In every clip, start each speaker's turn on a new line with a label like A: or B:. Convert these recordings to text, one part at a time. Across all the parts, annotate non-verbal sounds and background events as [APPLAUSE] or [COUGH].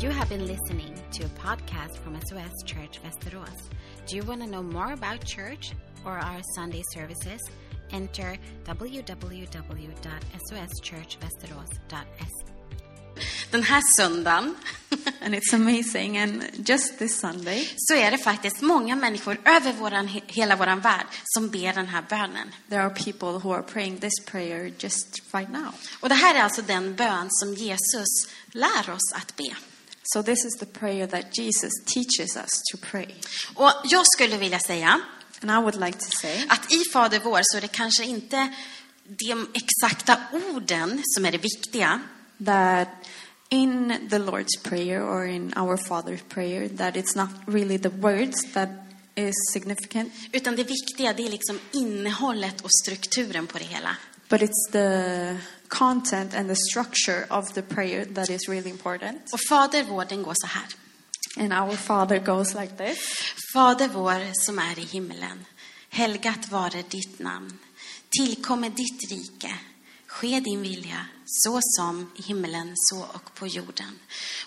A: You have been listening to a podcast from SOS Church Västerås. Do you want to know more about church or our Sunday services? Enter www.soschurchvesteros.se. Den här söndagen [LAUGHS]
B: And it's amazing. And just this Sunday,
A: så är det faktiskt många människor över våran, hela vår värld som ber den här bönen.
B: there are people who are praying this prayer just right now.
A: Och det här är alltså den bön som Jesus lär oss att be.
B: So, this is the prayer that Jesus teaches us to pray.
A: Och jag skulle vilja säga
B: And I would like to say
A: att i Fader vår så är det kanske inte de exakta orden som är det viktiga,
B: that in the Lord's Prayer or in our Father's Prayer, that it's not really the words that is significant,
A: utan det viktiga det är liksom innehållet och strukturen på det hela.
B: but it's the content and the structure of the prayer that is really important.
A: Och Fader vår, den går så här.
B: And our Father goes like this.
A: Fader vår som är i himlen. Helgat vare ditt namn. Tillkomme ditt rike. Ske din vilja, så som i himlen, så och på jorden.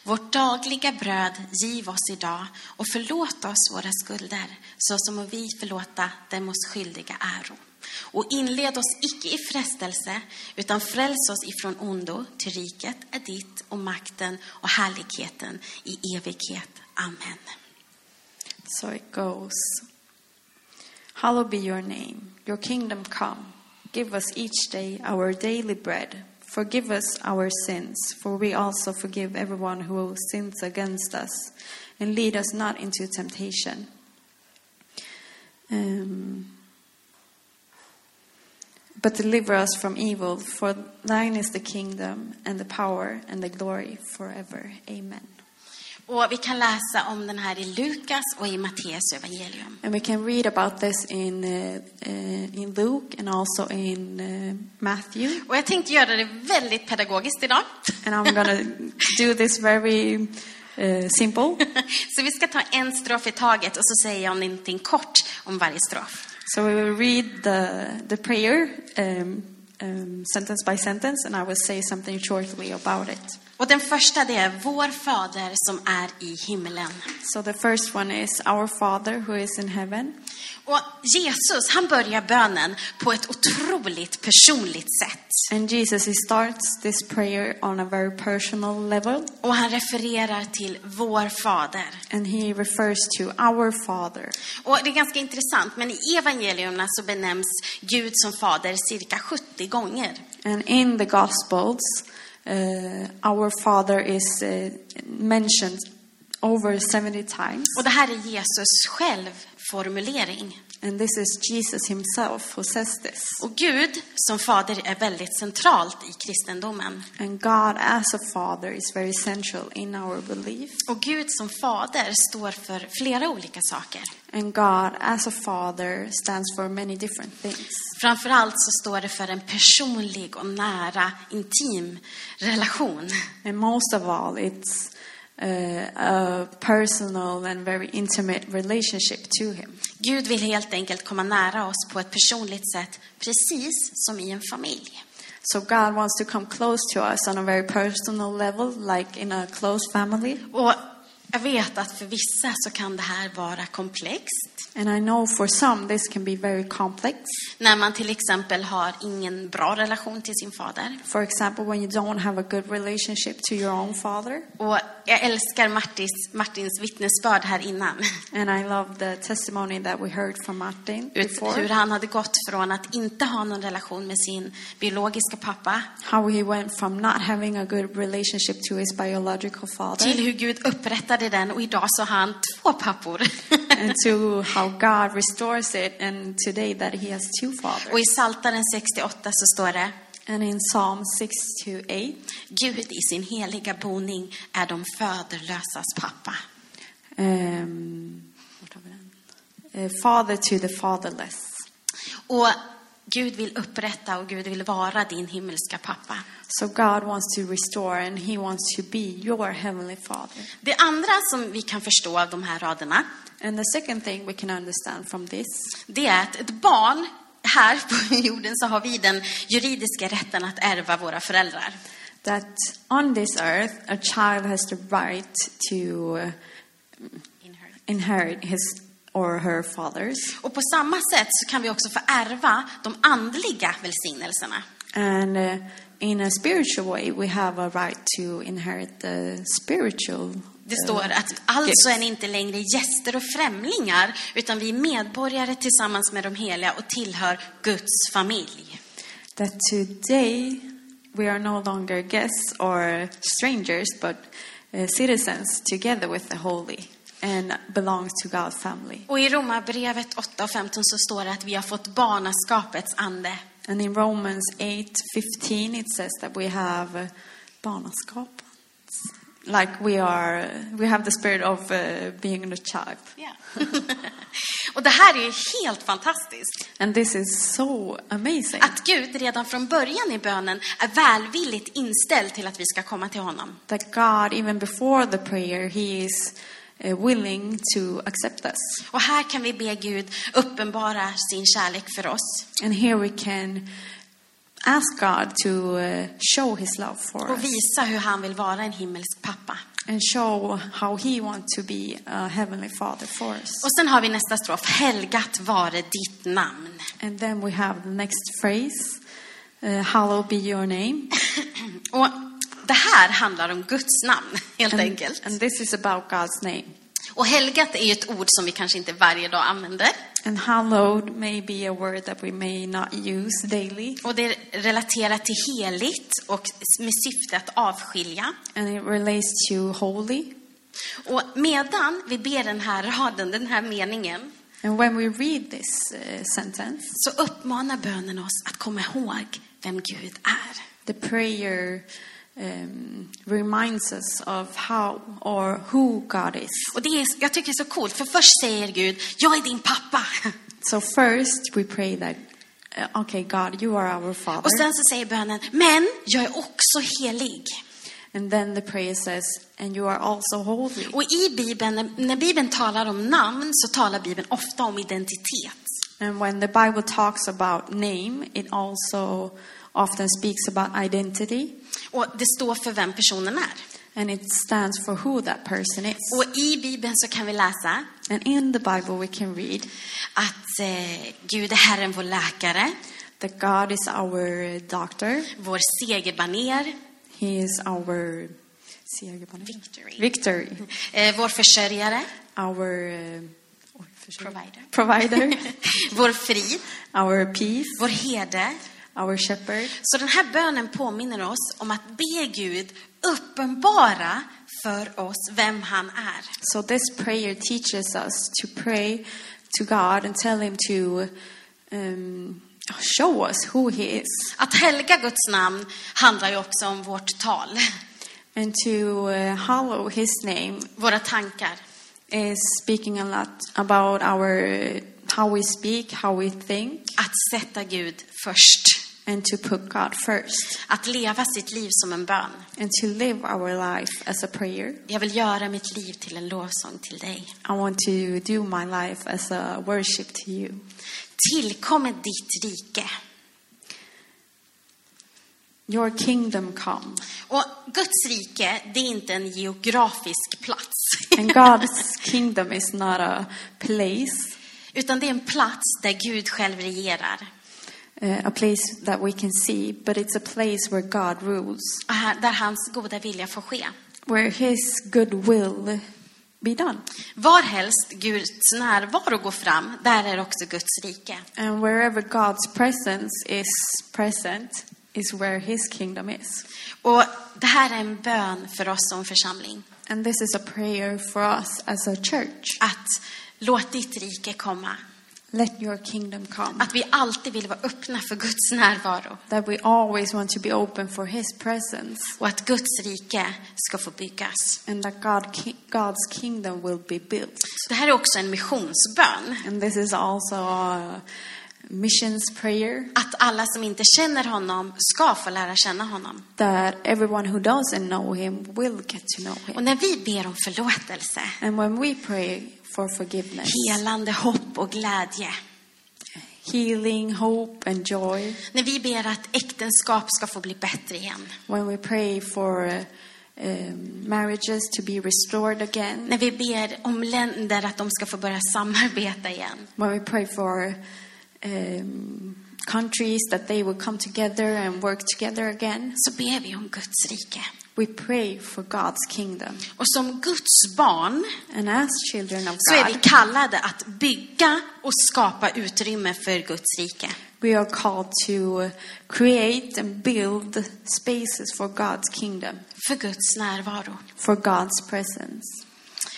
A: Vårt dagliga bröd giv oss idag och förlåt oss våra skulder, så som vi förlåta dem oss skyldiga äro. Och inled oss icke i frestelse, utan fräls oss ifrån ondo, till riket är ditt och makten och härligheten i evighet. Amen.
B: So it goes Hallowed be your name, your kingdom come. Give us each day our daily bread. Forgive us our sins, for we also forgive everyone who sins against us. And lead us not into temptation. Um, but deliver us from evil, for thine is the kingdom, and the power, and the glory forever. Amen.
A: Och vi kan läsa om den här i Lukas och i Matteus evangelium.
B: And we can read about this in uh, uh, in Luke and also in uh, Matthew.
A: Och jag tänkte göra det väldigt pedagogiskt idag. [LAUGHS]
B: And I'm going to do this very uh, simple.
A: Så vi ska ta en strof i taget och så säger jag någonting kort om varje strof.
B: So we will read the the prayer um, um, sentence by sentence, and I will say something shortly about it.
A: Och den första det är Vår Fader som är i himlen.
B: So the first one is Our Father who is in heaven,
A: Och Jesus, han börjar bönen på ett otroligt personligt sätt.
B: and Jesus he starts this prayer on a very personal level,
A: Och han refererar till Vår Fader.
B: and he refers to Our Father.
A: Och det är ganska intressant, men i evangelierna så benämns Gud som Fader cirka 70 gånger.
B: And in the Gospels, uh, our Father is uh, mentioned over 70 times.
A: Och det här är Jesus själv formulering.
B: And this is Jesus himself who says this.
A: Och Gud som fader är väldigt centralt i kristendomen.
B: And God as a Father is very central in our belief.
A: Och Gud som fader står för flera olika saker.
B: And God as a Father stands for many different things.
A: Framförallt så står det för en personlig och nära intim relation.
B: And most of all, it's uh, a personal and very intimate relationship to Him.
A: Gud vill helt enkelt komma nära oss på ett personligt sätt, precis som i en familj.
B: So God wants to come close to us on a very personal level, like in a close family.
A: Och jag vet att för vissa så kan det här vara komplext.
B: And I know for some this can be very complex.
A: När man till exempel har ingen bra relation till sin fader.
B: For example, when you don't have a good relationship to your own father.
A: Och jag älskar Martins, Martins vittnesbörd här innan.
B: And I love the testimony that we heard from Martin
A: Ut- Hur
B: before.
A: han hade gått från att inte ha någon relation med sin biologiska pappa
B: How he went from not having a good relationship to his biological father
A: till hur Gud upprättade den och idag så har han två pappor.
B: [LAUGHS] and to how God restores it and today that he has two
A: och
B: fathers.
A: i Saltaren 68 så står det
B: And in Psalm 6 to 8,
A: Gud i sin heliga boning är de föderlösas pappa.
B: um, what have we done? Uh, father to the fatherless.
A: Och Gud vill upprätta och Gud vill vara din himmelska pappa.
B: So God wants to restore and he wants to be your heavenly father.
A: Det andra som vi kan förstå av de här raderna
B: And the second thing we can understand from this
A: det är att ett barn, här på jorden så har vi den juridiska rätten att ärva våra föräldrar.
B: that on this earth a child has the right to uh,
A: Inherit.
B: inherit his or her father's.
A: Och på samma sätt så kan vi också få ärva de andliga välsignelserna.
B: And uh, in a spiritual way, we have a right to inherit the spiritual.
A: Det
B: uh,
A: står att alltså är ni inte längre gäster och främlingar, utan vi är medborgare tillsammans med de heliga och tillhör Guds familj.
B: that today we are no longer guests or strangers, but uh, citizens together with the holy and belongs to God's family.
A: Och i Romarbrevet 8 och 15 så står det att vi har fått barnaskapets ande.
B: And in Romans 8:15 it says that we have uh, barnaskap. Like we are we have the spirit of uh, being a child.
A: [LAUGHS] och det här är ju helt fantastiskt.
B: And this is so amazing.
A: Att Gud redan från början i bönen är välvilligt inställd till att vi ska komma till honom.
B: that God, even before the prayer, He is uh, willing to accept us.
A: Och här kan vi be Gud uppenbara sin kärlek för oss.
B: And here we can ask God to uh, show His love for
A: Och
B: us
A: visa hur han vill vara en himmelsk pappa.
B: and show how He wants to be a heavenly Father for us.
A: Och sen har vi nästa strof. Helgat vare ditt namn.
B: And then we have the next phrase. Uh, hallowed be your [LAUGHS] name.
A: Och det här handlar om Guds namn, helt
B: And,
A: enkelt.
B: and this is about God's name.
A: Och helgat är ju ett ord som vi kanske inte varje dag använder.
B: And hallowed may be a word that we may not use daily,
A: Och det är relaterat till heligt och med syfte att avskilja.
B: and it relates to holy.
A: Och medan vi ber den här raden, den här meningen,
B: And when we read this uh, sentence,
A: så uppmanar bönen oss att komma ihåg vem Gud är.
B: the prayer um, reminds us of how or who God is.
A: Och det är, jag tycker det är så coolt, för först säger Gud, jag är din pappa.
B: So first we pray that, uh, okay, God, you are our Father,
A: Och sen så säger bönen, men jag är också helig.
B: and then the prayer says, and you are also holy.
A: Och i Bibeln, när- när Bibeln talar om namn så talar Bibeln ofta om identitet.
B: And when the Bible talks about name, it also often speaks about identity,
A: Och det står för vem personen är.
B: and it stands for who that person is.
A: Och i Bibeln så kan vi läsa
B: And in the Bible we can read
A: att eh, Gud är Herren vår läkare,
B: that God is our doctor,
A: vår segerbaner,
B: He is our
A: Victory.
B: victory.
A: eh, vår försörjare,
B: our um,
A: Provider. [LAUGHS]
B: provider,
A: vår frid,
B: our peace,
A: vår herde.
B: our shepherd.
A: Så den här bönen påminner oss om att be Gud uppenbara för oss vem han är.
B: So this prayer teaches us to pray to God and tell Him to um, show us who He is.
A: Att helga Guds namn handlar ju också om vårt tal,
B: And to uh, hallow His name
A: våra tankar.
B: is speaking a lot about our how we speak, how we think,
A: Att sätta Gud först.
B: and to put God first,
A: Att leva sitt liv som en bön.
B: and to live our life as a prayer.
A: Jag vill göra mitt liv till en lovsång till dig.
B: I want to do my life as a worship to you.
A: Tillkommer ditt rike.
B: Your kingdom come.
A: Och Guds rike, det är inte en geografisk plats.
B: [LAUGHS] And God's kingdom is not a place,
A: [LAUGHS] Utan det är en plats där Gud själv regerar.
B: uh, a place that we can see, but it's a place where God rules,
A: Och här- Där hans goda vilja får ske.
B: where His good will be done.
A: Varhelst Guds närvaro går fram, där är också Guds rike.
B: And wherever God's presence is present, is where His kingdom is.
A: Och det här är en bön för oss som församling.
B: And this is a prayer for us as a church.
A: Att låt ditt rike komma.
B: Let your kingdom come.
A: Att vi alltid vill vara öppna för Guds närvaro.
B: That we always want to be open for His presence,
A: Och att Guds rike ska få byggas.
B: and that God, ki- God's kingdom will be built.
A: Det här är också en missionsbön.
B: And this is also a missions prayer
A: Att alla som inte känner honom ska få lära känna honom.
B: that everyone who doesn't know him will get to know
A: Och
B: him.
A: när vi ber om förlåtelse,
B: And when we pray for forgiveness,
A: helande hopp och glädje.
B: healing, hope, and joy.
A: När vi ber att äktenskap ska få bli bättre igen.
B: When we pray for uh, um, marriages to be restored again.
A: När vi ber om länder att de ska få börja samarbeta igen.
B: When we pray for um, countries that they will come together and work together again.
A: Så ber vi om Guds rike.
B: We pray for God's kingdom.
A: Och som Guds barn
B: And as children of
A: så är vi
B: God,
A: kallade att bygga och skapa utrymme för Guds rike.
B: we are called to create and build spaces for God's kingdom,
A: För Guds närvaro.
B: for God's presence.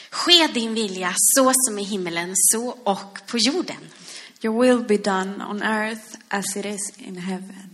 A: Ske din vilja så som i himmelen, så och på jorden.
B: Your will be done on earth as it is in heaven.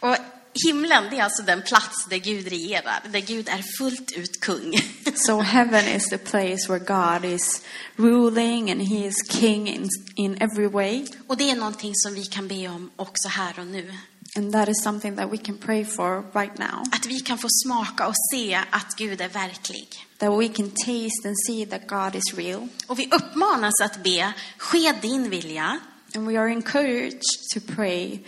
A: Och himlen, det är alltså den plats där Gud regerar, där Gud är fullt ut kung.
B: So heaven is the place where God is ruling and he is king in, in every way.
A: [LAUGHS] Och det är någonting som vi kan be om också här och nu.
B: And that is something that we can pray for right now.
A: Att vi kan få smaka och se att Gud är verklig.
B: That we can taste and see that God is real.
A: Och vi uppmanas att be, ske din vilja,
B: And we are encouraged to pray,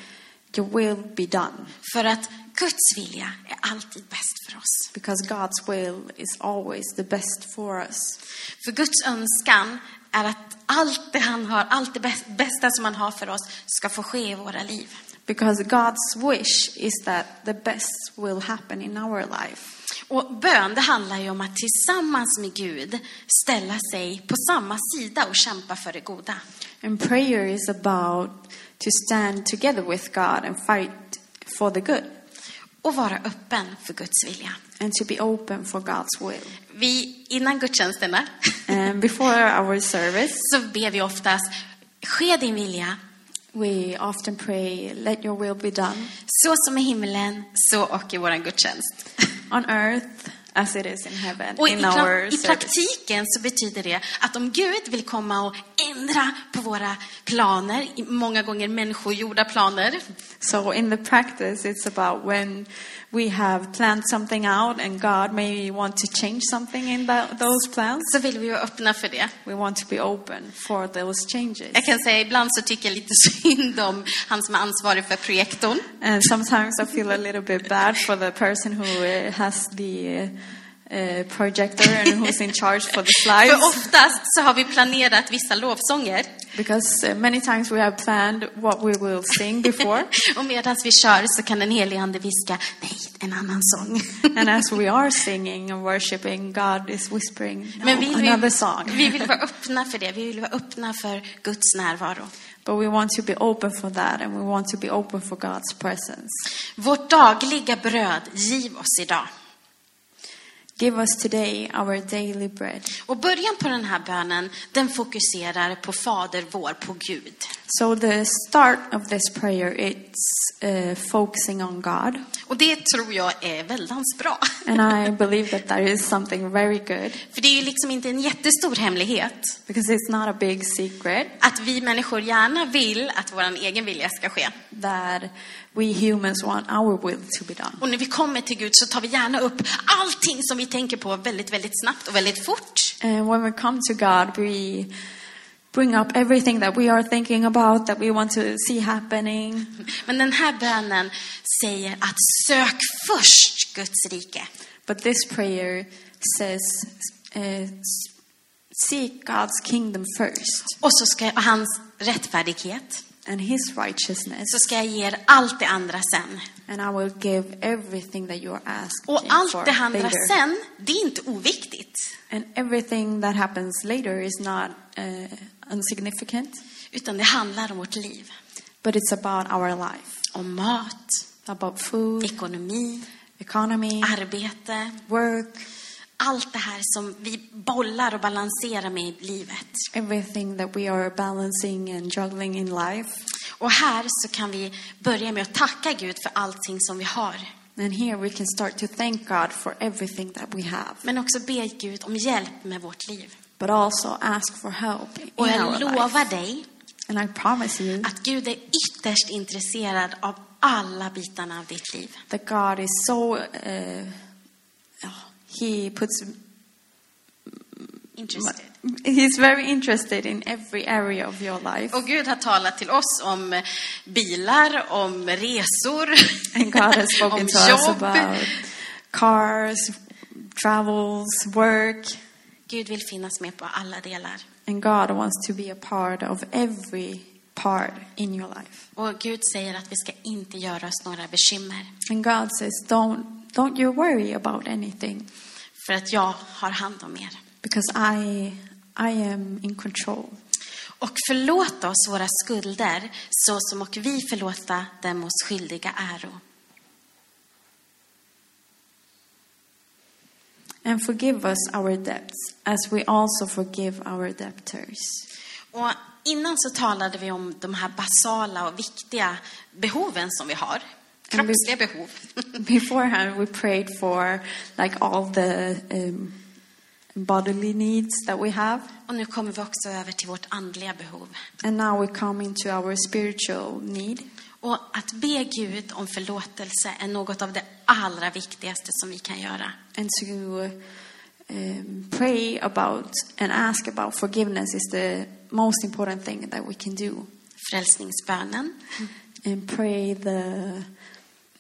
B: Your will be done.
A: för att Guds vilja är alltid bäst för oss.
B: Because God's will is always the best for us.
A: För Guds önskan är att allt det han har, allt det bäst- bästa som han har för oss ska få ske i våra liv.
B: Because God's wish is that the best will happen in our life.
A: Och bön, det handlar ju om att tillsammans med Gud ställa sig på samma sida och kämpa för det goda.
B: And prayer is about to stand together with God and fight for the good
A: Och vara öppen för Guds vilja.
B: and to be open for God's will.
A: Vi, innan gudstjänsterna
B: And before our service,
A: [LAUGHS] så ber vi oftast Ske din vilja,
B: we often pray, Let your will be done
A: så som i himlen, så och i vår gudstjänst.
B: on earth as it is in heaven.
A: [LAUGHS] Och i,
B: in
A: pra-
B: our
A: i
B: service.
A: praktiken så betyder det att om Gud vill komma och ändra på våra planer, i- många gånger människogjorda planer,
B: So in the practice, it's about when we have planned something out and God may want to change something in tho- those plans.
A: så vill vi vara öppna för det.
B: We want to be open for those changes.
A: Jag kan säga ibland så tycker jag lite [LAUGHS] synd om han som är ansvarig för projektorn.
B: And sometimes I feel a little bit bad for the person who uh, has the uh, uh, projector and who's in charge for the
A: För
B: slides.
A: oftast så har vi planerat vissa lovsånger
B: Because uh, many times we have planned what we will sing before.
A: [LAUGHS] och medan vi kör så kan den helige Ande viska, nej, en annan sång. [LAUGHS]
B: And as we are singing and worshiping, God is whispering "No,
A: Men vill
B: another
A: vi,
B: song.
A: vi vill vara öppna för det, vi vill vara öppna för Guds närvaro.
B: But we want to be open for that and we want to be open for God's presence.
A: Vårt dagliga bröd, giv oss idag.
B: Give us today our daily bread.
A: Och början på den här bönen, den fokuserar på Fader vår, på Gud.
B: So the start of this prayer, it's uh, focusing on God.
A: Och det tror jag är väldans bra.
B: And I believe that that is something very good
A: För det är ju liksom inte en jättestor hemlighet
B: because it's not a big secret
A: att vi människor gärna vill att vår egen vilja ska ske.
B: that we humans want our will to be done.
A: Och när vi kommer till Gud så tar vi gärna upp allting som vi tänker på väldigt, väldigt snabbt och väldigt fort.
B: And when we come to God, we bring up everything that we are thinking about, that we want to see happening.
A: Men den här bönen säger att sök först Guds rike.
B: But this prayer says, uh, seek God's kingdom first
A: Och så ska jag, och hans rättfärdighet,
B: and his righteousness,
A: så ska jag ge er allt det andra sen.
B: and I will give everything that you are asking
A: Och
B: for
A: allt det andra
B: later.
A: sen, det är inte oviktigt.
B: And everything that happens later is not uh, insignificant,
A: Utan det handlar om vårt liv.
B: but it's about our life,
A: Om mat,
B: about food,
A: ekonomi,
B: economy,
A: Ah. arbete.
B: work,
A: Allt det här som vi bollar och balanserar med i livet.
B: everything that we are balancing and juggling in life.
A: Och här så kan vi börja med att tacka Gud för allting som vi har.
B: And here we can start to thank God for everything that we have,
A: Men också be Gud om hjälp med vårt liv.
B: but also ask for help in
A: Och
B: our
A: jag
B: life.
A: lovar dig
B: And I promise you
A: att Gud är ytterst intresserad av alla bitarna av ditt liv.
B: that God is uh, so, uh, oh, He puts
A: Interested.
B: He's very interested in every area of your life.
A: Och Gud har talat till oss om bilar, om resor,
B: And
A: [LAUGHS]
B: God has spoken
A: om
B: to us
A: jobb.
B: about cars, travels, work.
A: Gud vill finnas med på alla delar.
B: And God wants to be a part of every part in your life.
A: Och Gud säger att vi ska inte göra oss några bekymmer,
B: And God says, don't, don't you worry about anything
A: för att jag har hand om er.
B: because I, I am in control.
A: Och förlåt oss våra skulder, så som och vi förlåta dem oss skyldiga äro.
B: And forgive us our debts as we also forgive our debtors.
A: Och innan så talade vi om de här basala och viktiga behoven som vi har.
B: En bit-
A: Kroppsliga behov. [LAUGHS]
B: Beforehand, we prayed for like all the um, bodily needs that we have.
A: Och nu kommer vi också över till vårt andliga behov.
B: And now we come into our spiritual need.
A: Och att be Gud om förlåtelse är något av det allra viktigaste som vi kan göra.
B: And to um, pray about and ask about forgiveness is the most important thing that we can do.
A: Frälsningsbönen.
B: And pray the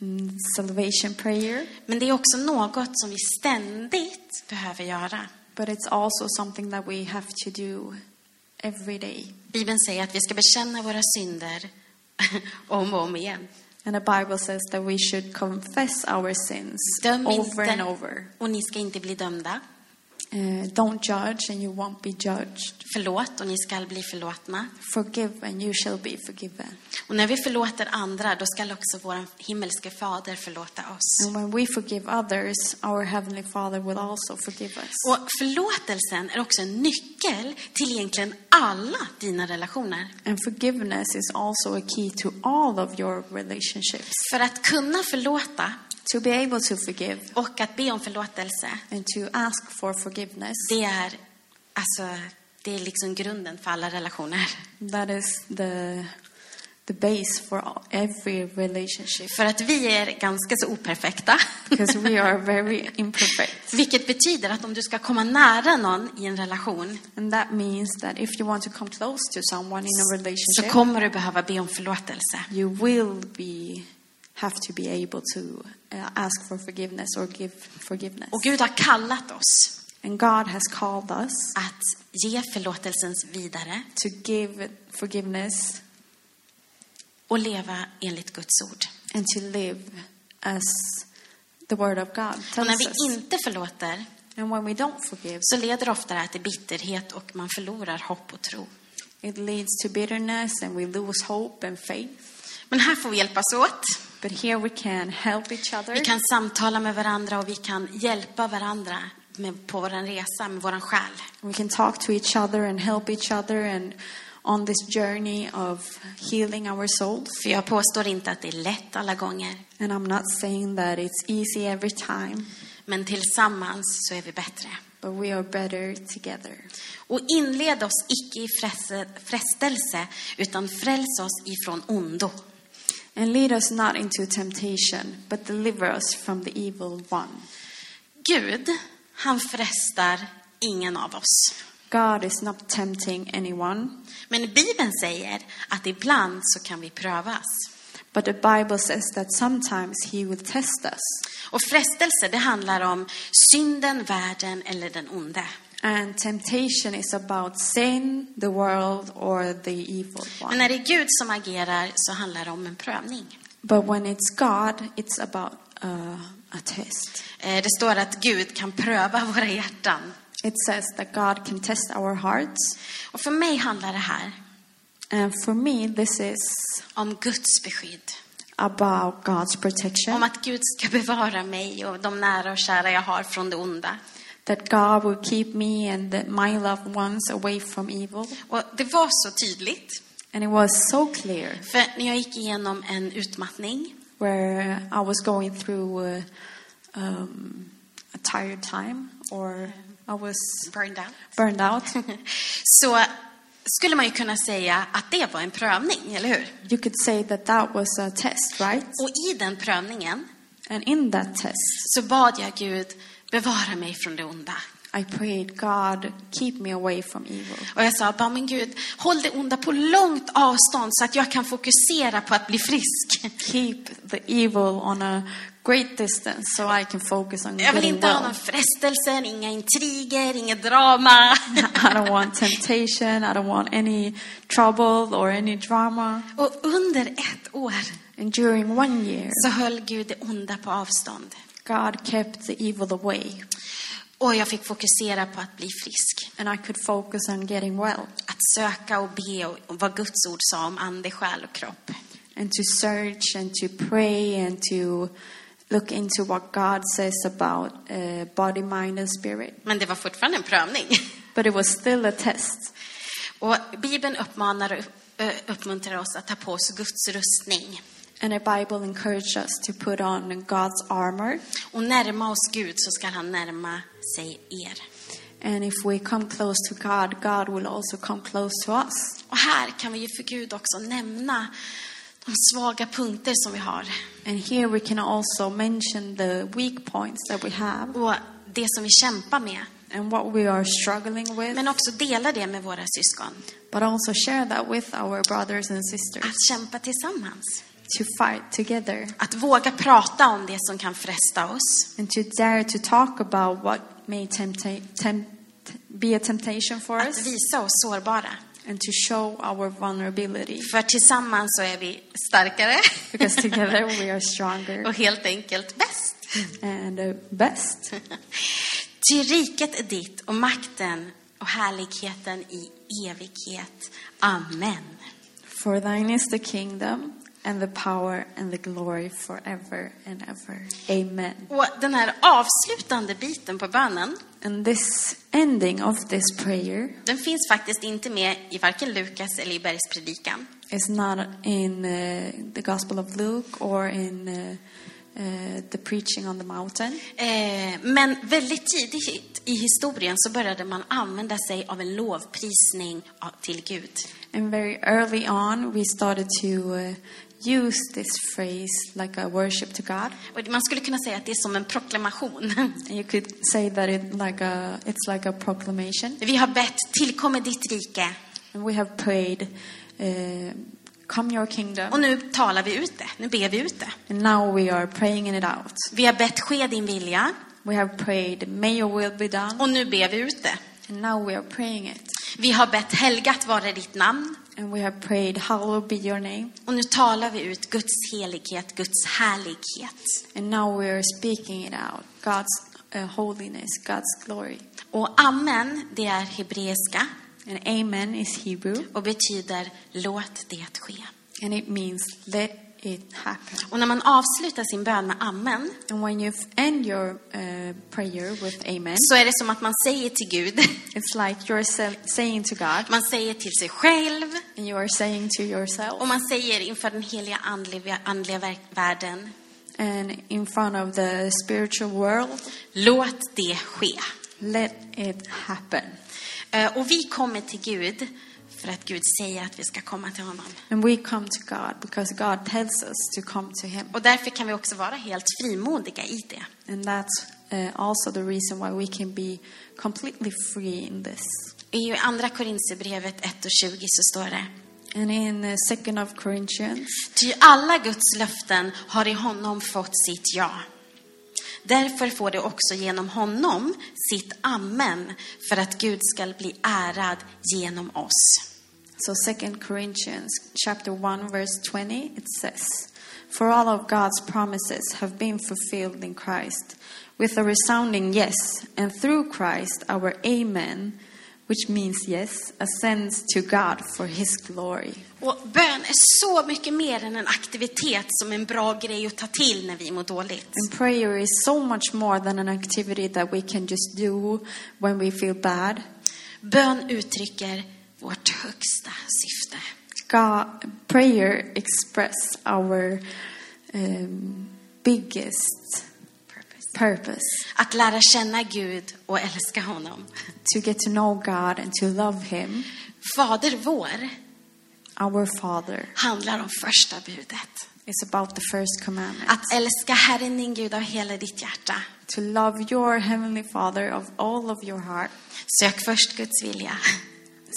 B: mm, salvation prayer.
A: Men det är också något som vi ständigt behöver göra.
B: But it's also something that we have to do every day.
A: Bibeln säger att vi ska bekänna våra synder [LAUGHS] om och om igen.
B: And the Bible says that we should confess our sins
A: Döm
B: over and
A: inte
B: over.
A: och ni ska inte bli dömda.
B: Uh, don't judge and you won't be judged.
A: Förlåt och ni skall bli förlåtna.
B: Forgive and you shall be forgiven.
A: Och när vi förlåter andra, då skall också vår himmelske fader förlåta oss.
B: And when we forgive others, our Heavenly Father will also forgive us.
A: Och förlåtelsen är också en nyckel till egentligen alla dina relationer.
B: And forgiveness is also a key to all of your relationships.
A: För att kunna förlåta
B: To be able to forgive
A: och att be om förlåtelse,
B: and to ask for forgiveness,
A: det är, alltså, det är liksom grunden för alla relationer.
B: that is the, the base for all, every relationship.
A: För att vi är ganska så operfekta.
B: Because we are very [LAUGHS]
A: [LAUGHS]
B: imperfect.
A: Vilket betyder att om du ska komma nära någon i en relation
B: And that means that if you want to come close to someone in a
A: så
B: relationship,
A: kommer du behöva be om förlåtelse.
B: you will be have to be able to uh, ask for forgiveness or give forgiveness.
A: Och Gud har kallat oss
B: And God has called us
A: att ge förlåtelsens vidare
B: to give forgiveness
A: och leva enligt Guds ord.
B: and to live as the Word of God
A: Och
B: tells
A: när vi
B: us.
A: inte förlåter
B: And when we don't forgive,
A: så leder ofta det här till bitterhet och man förlorar hopp och tro.
B: it leads to bitterness and we lose hope and faith.
A: Men här får vi hjälpas åt.
B: But here we can help each other.
A: Vi kan samtala med varandra och vi kan hjälpa varandra med, på vår resa med vår själ.
B: We can talk to each other and help each other and on this journey of healing our souls.
A: För jag påstår inte att det är lätt alla gånger,
B: And I'm not saying that it's easy every time,
A: men tillsammans så är vi bättre.
B: but we are better together.
A: Och inled oss icke i fresse- frestelse, utan fräls oss ifrån ondo.
B: And lead us not into temptation, but deliver us from the evil one.
A: Gud, han frestar ingen av oss.
B: God is not tempting anyone,
A: Men Bibeln säger att ibland så kan vi prövas.
B: but the Bible says that sometimes he will test us.
A: Och frestelse, det handlar om synden, världen eller den onde.
B: And temptation is about sin, the world, or the evil
A: Men
B: one.
A: när det är Gud som agerar så handlar det om en prövning.
B: But when it's God, it's about uh, a test.
A: Eh, Det står att Gud kan pröva våra hjärtan.
B: It says that God can test our hearts.
A: Och för mig handlar det här
B: And for me, this is
A: om Guds beskydd.
B: about God's
A: Om
B: protection,
A: att Gud ska bevara mig och de nära och kära jag har från det onda.
B: that God will keep me and that my loved ones away from evil.
A: Och det var så tydligt.
B: And it was so clear
A: För när jag gick igenom en utmattning
B: where I was going through uh, um, a tired time or I was
A: burned out,
B: burned out.
A: [LAUGHS]
B: [LAUGHS]
A: så skulle man ju kunna säga att det var en prövning, eller hur?
B: You could say that that was a test, right?
A: Och i den prövningen
B: And in that test,
A: så bad jag Gud bevara mig från det onda.
B: I prayed, God, keep me away from evil.
A: Och jag sa, bara, men Gud, håll det onda på långt avstånd så att jag kan fokusera på att bli
B: [LAUGHS]
A: frisk.
B: Keep the evil on a great distance so I can focus on
A: Jag vill
B: getting
A: inte ha
B: well.
A: någon frestelse, inga intriger, inget drama. [LAUGHS]
B: [LAUGHS] I don't want temptation. I don't want any trouble or any drama.
A: Och under ett år
B: And during one year,
A: så höll Gud det onda på avstånd.
B: God kept the evil away.
A: Och jag fick fokusera på att bli frisk.
B: And I could focus on getting well
A: Att söka och be och och vad Guds ord sa om ande, själ och kropp.
B: and to search and to pray and to look into what God says about uh, body, mind, and spirit.
A: Men det var fortfarande en prövning.
B: But it was still a test.
A: Och Bibeln uppmanar och upp- eh, uppmuntrar oss att ta på oss Guds rustning
B: And the Bible encouraged us to put on God's armor.
A: och närma oss Gud så ska han närma sig er.
B: And if we come close to God, God will also come close to us.
A: Och här kan vi ju för Gud också nämna de svaga punkter som vi har
B: And here we can also mention the weak points that we have
A: och det som vi kämpar med.
B: and what we are struggling with,
A: Men också dela det med våra syskon.
B: but also share that with our brothers and sisters
A: Att kämpa tillsammans.
B: to fight together
A: Att våga prata om det som kan fresta oss.
B: and to dare to talk about what may tempta- tempt- be a temptation for
A: Att
B: us
A: visa oss sårbara.
B: and to show our vulnerability
A: För tillsammans så är vi starkare
B: because together we are
A: [LAUGHS]
B: stronger
A: och helt enkelt bäst.
B: and uh, best.
A: Ty riket är ditt och makten och härligheten i evighet. Amen.
B: For thine is the kingdom and the power and the glory forever and ever. Amen.
A: Och den här avslutande biten på bönen,
B: And this ending of this prayer
A: den finns faktiskt inte med i varken Lukas eller i Bergspredikan.
B: is not in uh, the Gospel of Luke or in uh, uh, the preaching on the mountain,
A: Eh, Men väldigt tidigt i historien så började man använda sig av en lovprisning av- till Gud.
B: and very early on we started to uh, use this phrase like a worship to God.
A: Och man skulle kunna säga att det är som en proklamation. [LAUGHS]
B: And you could say that it like a it's like a proclamation.
A: Vi har bett, tillkommer ditt rike.
B: And we have prayed, uh, "Come, Your kingdom."
A: Och nu talar vi ut det, nu ber vi ut det.
B: And now we are praying it out.
A: Vi har bett, ske din vilja.
B: We have prayed, may your will be done.
A: Och nu ber vi ut det.
B: And now we are praying it.
A: Vi har bett, helgat vare ditt namn.
B: And we have prayed, hallowed be your name.
A: Och nu talar vi ut Guds helighet, Guds härlighet.
B: And now we are speaking it out God's uh, holiness, God's glory.
A: Och amen, det är hebreiska
B: And amen is Hebrew,
A: och betyder låt det ske.
B: and it means let it happen.
A: Och när man avslutar sin bön med amen
B: And when you end your uh, prayer with amen,
A: så är det som att man säger till Gud, [LAUGHS]
B: it's like you're se- saying to God,
A: man säger till sig själv
B: and you are saying to
A: och
B: yourself,
A: man säger inför den heliga andliga, andliga verk- världen,
B: and in front of the spiritual world,
A: låt det ske.
B: let it happen.
A: Eh, Och vi kommer till Gud för att Gud säger att vi ska komma till honom.
B: And we come to God because God tells us to come to Him.
A: Och därför kan vi också vara helt frimodiga i det.
B: And that's uh, also the reason why we can be completely free in this.
A: I Andra Korinthierbrevet 1 och 20 så står det
B: And in uh, 2nd of Corinthians,
A: Ty alla Guds löften har i honom fått sitt ja. Därför får det också genom honom sitt amen för att Gud skall bli ärad genom oss.
B: so 2nd Corinthians chapter 1 verse 20, it says, "For all of God's promises have been fulfilled in Christ with a resounding yes, and through Christ our amen, which means yes, ascends to God for his glory."
A: Och bön är så mycket mer än en aktivitet som en bra grej att ta till när vi mår dåligt.
B: And prayer is so much more than an activity that we can just do when we feel bad.
A: Bön uttrycker vårt högsta syfte.
B: God, prayer express our um, biggest purpose
A: Att lära känna Gud och älska honom.
B: to get to know God and to love Him,
A: Fader vår
B: our Father.
A: handlar om första budet.
B: is about the first commandment
A: Att älska Herren din Gud av hela ditt hjärta.
B: to love your heavenly Father of all of your heart.
A: Sök först Guds vilja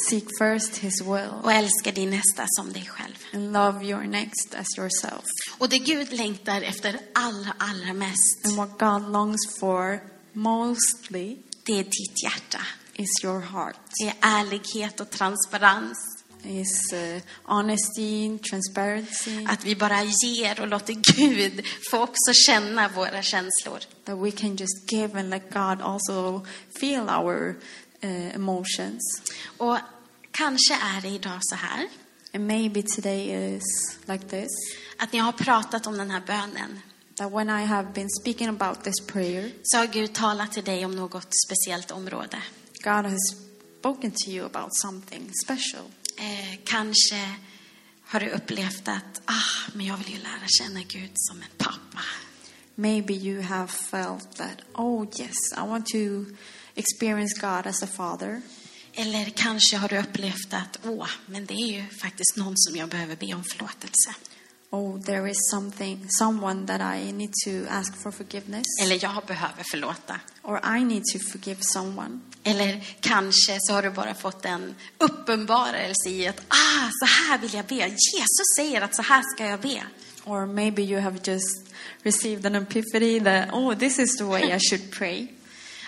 B: Seek first his will
A: och älska din nästa som dig själv.
B: and love your next as yourself.
A: Och det Gud längtar efter allra, allra mest,
B: And what God longs for mostly
A: det är ditt hjärta.
B: is your heart.
A: Det är ärlighet och transparens.
B: Is uh, honesty, transparency,
A: Att vi bara ger och låter Gud få också känna våra känslor.
B: that we can just give and let God also feel our uh, emotions.
A: Och kanske är det idag så här,
B: And maybe today is like this
A: att när jag har pratat om den här bönen,
B: that when I have been speaking about this prayer,
A: så har Gud talat till dig om något speciellt område.
B: God has spoken to you about something special.
A: Eh, kanske har du upplevt att, ah, men jag vill ju lära känna Gud som en pappa.
B: Maybe you have felt that, oh, yes, I want to experience God as a father.
A: Eller kanske har du upplevt att, åh, men det är ju faktiskt någon som jag behöver be om förlåtelse.
B: Oh, there is something, someone that I need to ask for forgiveness,
A: Eller jag behöver förlåta.
B: or I need to forgive someone.
A: Eller kanske så har du bara fått en uppenbarelse i att, ah, så här vill jag be. Jesus säger att så här ska jag be.
B: Or maybe you have just received an epiphany that, oh, this is the way I should pray.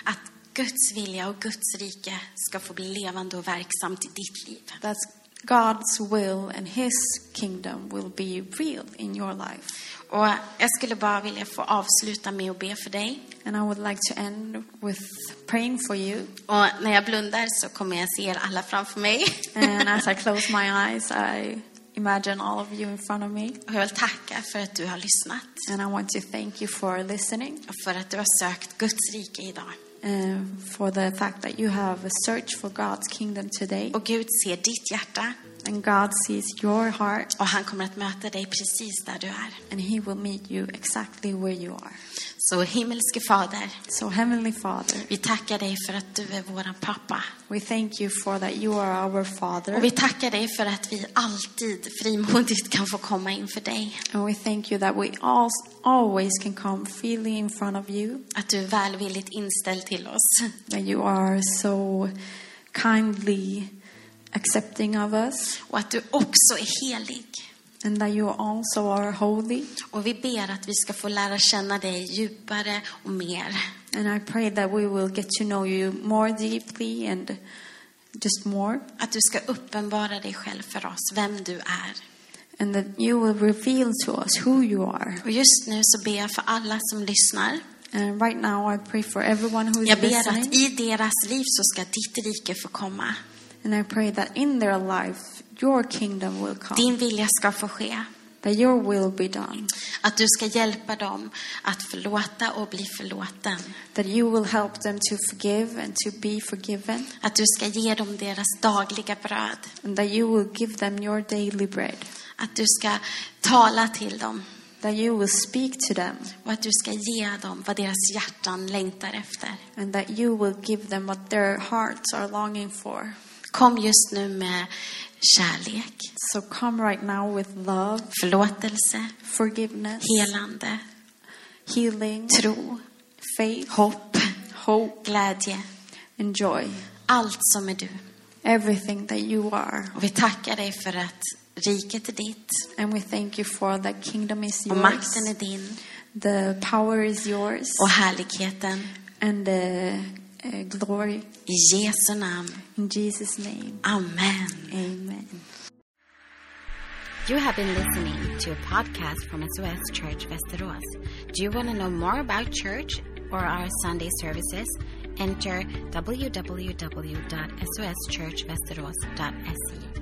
A: Att Guds vilja och Guds rike ska få bli levande och verksamt i ditt liv.
B: That God's will and His kingdom will be real in your life.
A: Och jag skulle bara vilja få avsluta med att be för dig.
B: And I would like to end with praying for you.
A: Och när jag blundar så kommer jag se er alla framför mig.
B: And as I close my eyes, I imagine all of you in front of me.
A: [LAUGHS] Och jag vill tacka för att du har lyssnat
B: And I want to thank you for listening
A: och för att du har sökt Guds rike idag.
B: and for the fact that you have a search for God's kingdom today.
A: Och Gud ser ditt hjärta
B: And God sees your heart
A: och han kommer att möta dig precis där du är.
B: and He will meet you exactly where you are.
A: Så himmelske Fader,
B: So, Heavenly Father,
A: vi tackar dig för att du är våran pappa.
B: we thank you for that you are our Father.
A: Och vi tackar dig för att vi alltid frimodigt kan få komma inför dig.
B: And we thank you that we all, always can come freely in front of you,
A: Att du är välvilligt inställd till oss.
B: that you are so kindly accepting of us,
A: Och att du också är helig.
B: and that you also are holy.
A: Och vi ber att vi ska få lära känna dig djupare och mer.
B: And I pray that we will get to know you more deeply and just more,
A: Att du ska uppenbara dig själv för oss, vem du är.
B: and that you will reveal to us who you are.
A: Och just nu så ber jag för alla som lyssnar.
B: And right now, I pray for everyone who is
A: Jag ber att
B: listening,
A: i deras liv så ska ditt rike få komma.
B: and I pray that in their life, your kingdom will come,
A: Din vilja ska få ske.
B: that your will be done,
A: Att du ska hjälpa dem att förlåta och bli förlåten.
B: that you will help them to forgive and to be forgiven,
A: Att du ska ge dem deras dagliga bröd.
B: and that you will give them your daily bread,
A: Att du ska tala till dem.
B: that you will speak to them,
A: Och att du ska ge dem vad deras hjärtan längtar efter.
B: and that you will give them what their hearts are longing for.
A: Kom just nu med kärlek,
B: So come right now with love.
A: förlåtelse,
B: forgiveness,
A: helande,
B: healing,
A: tro,
B: faith,
A: hopp,
B: hope,
A: glädje.
B: and joy.
A: Allt som är du.
B: Everything that you are.
A: Och vi tackar dig för att riket är ditt
B: And we thank you for the kingdom is
A: och makten är
B: yours,
A: din
B: the power is yours,
A: och härligheten.
B: and the uh, glory.
A: I Jesu namn.
B: In Jesus' name,
A: Amen.
B: amen.
A: You have been listening to a podcast from SOS Church Västerås. Do you want to know more about church or our Sunday services? Enter www.soschurchvesteros.se.